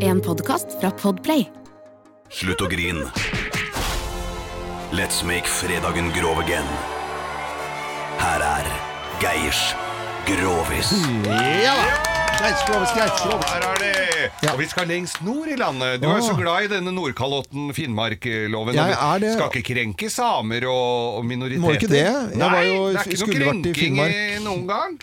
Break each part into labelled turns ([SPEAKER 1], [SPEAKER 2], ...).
[SPEAKER 1] En podkast fra Podplay.
[SPEAKER 2] Slutt å grin. Let's make fredagen grov again. Her er Geirs Grovis.
[SPEAKER 3] Ja da! Greit, skrovis, greit, skrovis.
[SPEAKER 4] Her er det! Og vi skal lengst nord i landet. Du er så glad i denne nordkalotten, Finnmarkloven.
[SPEAKER 3] Jeg
[SPEAKER 4] og
[SPEAKER 3] er
[SPEAKER 4] vi
[SPEAKER 3] det.
[SPEAKER 4] Skal ikke krenke samer og, og minoriteter.
[SPEAKER 3] Må ikke det. Jeg
[SPEAKER 4] Nei,
[SPEAKER 3] var jo-
[SPEAKER 4] det er ikke
[SPEAKER 3] skulle
[SPEAKER 4] noe
[SPEAKER 3] vært i
[SPEAKER 4] krenking i noen gang.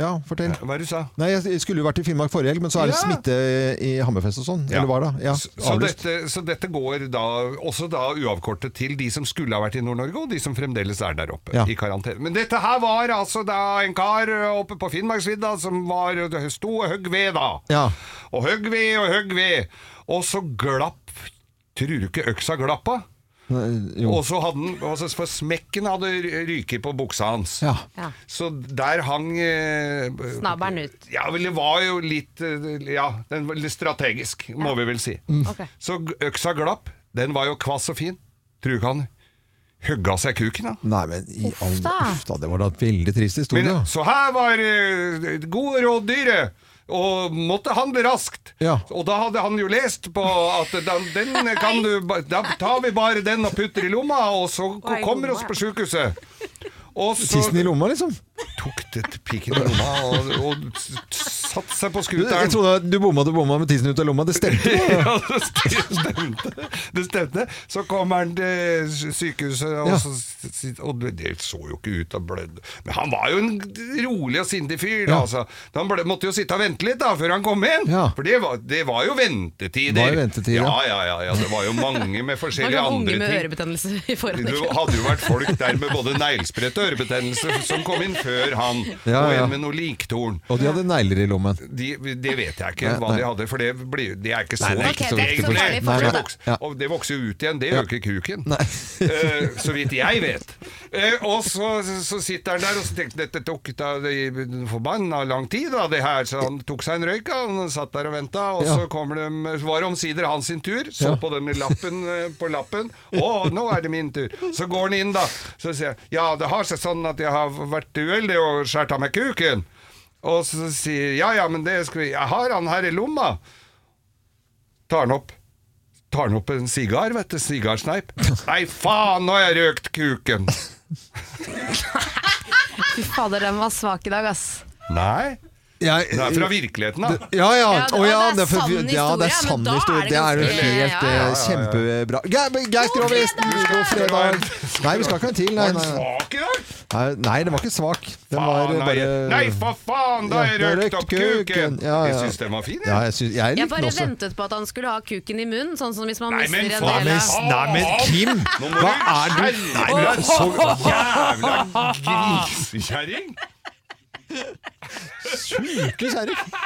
[SPEAKER 3] Ja, fortell.
[SPEAKER 4] Hva er det du sa?
[SPEAKER 3] Nei, jeg skulle jo vært i Finnmark forrige helg, men så er det
[SPEAKER 4] Ja.
[SPEAKER 3] smitte i Hammerfest og sånn.
[SPEAKER 4] Ja.
[SPEAKER 3] Eller var det? Ja,
[SPEAKER 4] Så, så,
[SPEAKER 3] avlyst.
[SPEAKER 4] dette, så dette går da også da uavkortet til de som skulle ha vært i Nord-Norge, og de som fremdeles er der oppe
[SPEAKER 3] Ja.
[SPEAKER 4] i karantene. Men dette her var altså da en kar oppe på Finnmarksvidda som var, sto og høgg ved, da.
[SPEAKER 3] Ja.
[SPEAKER 4] Og høgg ved og høgg ved. Og så glapp Tror du ikke øksa glappa?
[SPEAKER 3] Nei, Jo.
[SPEAKER 4] Og så hadde den, altså for smekken hadde ryket på buksa hans.
[SPEAKER 3] Ja.
[SPEAKER 5] Ja.
[SPEAKER 4] Så der hang eh,
[SPEAKER 5] Snabberen ut.
[SPEAKER 4] ja, vel, det var jo litt eh, Ja, den var litt strategisk, må vi vel si.
[SPEAKER 3] Mm.
[SPEAKER 5] Ok.
[SPEAKER 4] Så g- øksa glapp. Den var jo kvass og fin. Tror du ikke han hugga seg kuken, da?
[SPEAKER 3] Nei, men i all
[SPEAKER 5] da.
[SPEAKER 3] Uff da, det var da et veldig trist historie. altså.
[SPEAKER 4] Men,
[SPEAKER 3] da.
[SPEAKER 4] så her var eh, gode rådyret. Og måtte handle raskt.
[SPEAKER 3] Ja.
[SPEAKER 4] Og da hadde han jo lest på at da, den kan du ba- Da tar vi bare den og putter i lomma, og så
[SPEAKER 5] Hva er i
[SPEAKER 4] kommer
[SPEAKER 5] lomma?
[SPEAKER 4] oss på sjukehuset. Og så
[SPEAKER 3] Tissen i lomma, liksom.
[SPEAKER 4] tok det pikken i lomma og, og s- satte seg på
[SPEAKER 3] Du, jeg
[SPEAKER 4] skuteren.
[SPEAKER 3] trodde du bomma du bomma med tissen ut av lomma. Det stemte. jo.
[SPEAKER 4] Ja, det stemte. Det stemte. Så kommer han til sykehuset, og,
[SPEAKER 3] Ja.
[SPEAKER 4] så, sitt- og det så jo ikke ut av blødd. Men han var jo en rolig og sindig fyr.
[SPEAKER 3] Ja.
[SPEAKER 4] Altså. Han ble, måtte jo sitte og vente litt da, før han kom inn.
[SPEAKER 3] Ja.
[SPEAKER 4] For det var, det var jo ventetider.
[SPEAKER 3] Det var jo ventetider,
[SPEAKER 4] ja.
[SPEAKER 3] ja.
[SPEAKER 4] Ja, ja, ja. Det var jo mange med
[SPEAKER 5] Man
[SPEAKER 4] forskjellige
[SPEAKER 5] kan unge
[SPEAKER 4] andre
[SPEAKER 5] med
[SPEAKER 4] ting.
[SPEAKER 5] ørebetennelse i forhånd.
[SPEAKER 4] Det
[SPEAKER 5] ikke sant?
[SPEAKER 4] hadde jo vært folk der med både neglesprett og ørebetennelse som kom inn før han,
[SPEAKER 3] Ja,
[SPEAKER 4] og
[SPEAKER 3] ja.
[SPEAKER 4] en med noe liktorn.
[SPEAKER 3] Og de hadde negler i lommen.
[SPEAKER 4] De, det vet jeg ikke
[SPEAKER 3] Nei,
[SPEAKER 4] hva
[SPEAKER 3] nei.
[SPEAKER 4] de hadde, for det, blir- det er ikke så
[SPEAKER 3] Nei, det er ikke
[SPEAKER 4] viktig.
[SPEAKER 3] så viktig
[SPEAKER 4] egentlig.
[SPEAKER 3] for-
[SPEAKER 4] Det
[SPEAKER 3] Nei, nei.
[SPEAKER 4] vokser-
[SPEAKER 3] Ja.
[SPEAKER 4] Og det vokser jo ut igjen, det
[SPEAKER 3] Ja.
[SPEAKER 4] øker kuken.
[SPEAKER 3] Nei.
[SPEAKER 4] Eh, så vidt jeg vet. Eh, og så, så sitter han der og så tenkte han, dette tok da det- forbanna lang tid, da, det her. Så han tok seg en røyk, han og satt der og venta. Og
[SPEAKER 3] Ja.
[SPEAKER 4] så kommer de, så var det omsider hans sin tur. Så
[SPEAKER 3] Ja.
[SPEAKER 4] på den lappen eh, på lappen. Å, nå er det min tur. Så går han inn, da. Så sier jeg ja, det har seg sånn at jeg har vært uheldig og skåret av meg kuken. Og så sier jeg, ja ja, men det skal vi Jeg har han her i lomma. Tar han opp tar han opp en sigar, vet du, sigarsneip. Nei, faen, nå har jeg røkt kuken!
[SPEAKER 5] Fy fader, den var svak i dag, ass.
[SPEAKER 4] Nei,
[SPEAKER 3] Jeg-
[SPEAKER 4] det er fra virkeligheten, da.
[SPEAKER 3] Ja, ja.
[SPEAKER 5] Ja,
[SPEAKER 3] Å, ja,
[SPEAKER 5] det er
[SPEAKER 3] for-
[SPEAKER 5] sann historie,
[SPEAKER 3] ja, det er
[SPEAKER 5] men
[SPEAKER 3] sann
[SPEAKER 5] da er det
[SPEAKER 3] historie. Det er jo
[SPEAKER 5] ganske-
[SPEAKER 3] helt
[SPEAKER 5] Ja, ja,
[SPEAKER 3] eh, kjempebra. Ge- Geir Grovis, god fredag! Nei, vi skal ikke ha en til.
[SPEAKER 4] Var
[SPEAKER 3] Nei,
[SPEAKER 4] den
[SPEAKER 3] nei, nei.
[SPEAKER 4] svak i dag?
[SPEAKER 3] Nei, nei, den var ikke svak. Den var
[SPEAKER 4] Faen,
[SPEAKER 3] eh,
[SPEAKER 4] nei,
[SPEAKER 3] bare
[SPEAKER 4] nei, for faen, da har jeg
[SPEAKER 3] Ja,
[SPEAKER 4] røkt opp
[SPEAKER 3] kuken.
[SPEAKER 4] kuken!
[SPEAKER 3] Ja, ja.
[SPEAKER 4] Jeg syns den var fin,
[SPEAKER 3] Ja,
[SPEAKER 4] jeg.
[SPEAKER 3] jeg, synes, jeg
[SPEAKER 5] Jeg
[SPEAKER 3] likte den
[SPEAKER 5] bare
[SPEAKER 3] også.
[SPEAKER 5] ventet på at han skulle ha kuken i munnen, sånn som hvis man
[SPEAKER 4] Nei, men
[SPEAKER 5] mister en
[SPEAKER 4] faen,
[SPEAKER 5] del
[SPEAKER 3] Men,
[SPEAKER 5] av
[SPEAKER 3] s- nei, men Kim,
[SPEAKER 4] Nå må
[SPEAKER 3] hva
[SPEAKER 4] du
[SPEAKER 3] er du
[SPEAKER 4] skjerpe
[SPEAKER 3] Nei, men
[SPEAKER 4] deg,
[SPEAKER 3] så
[SPEAKER 4] Jævla grisekjerring!
[SPEAKER 3] sjuke kjerring!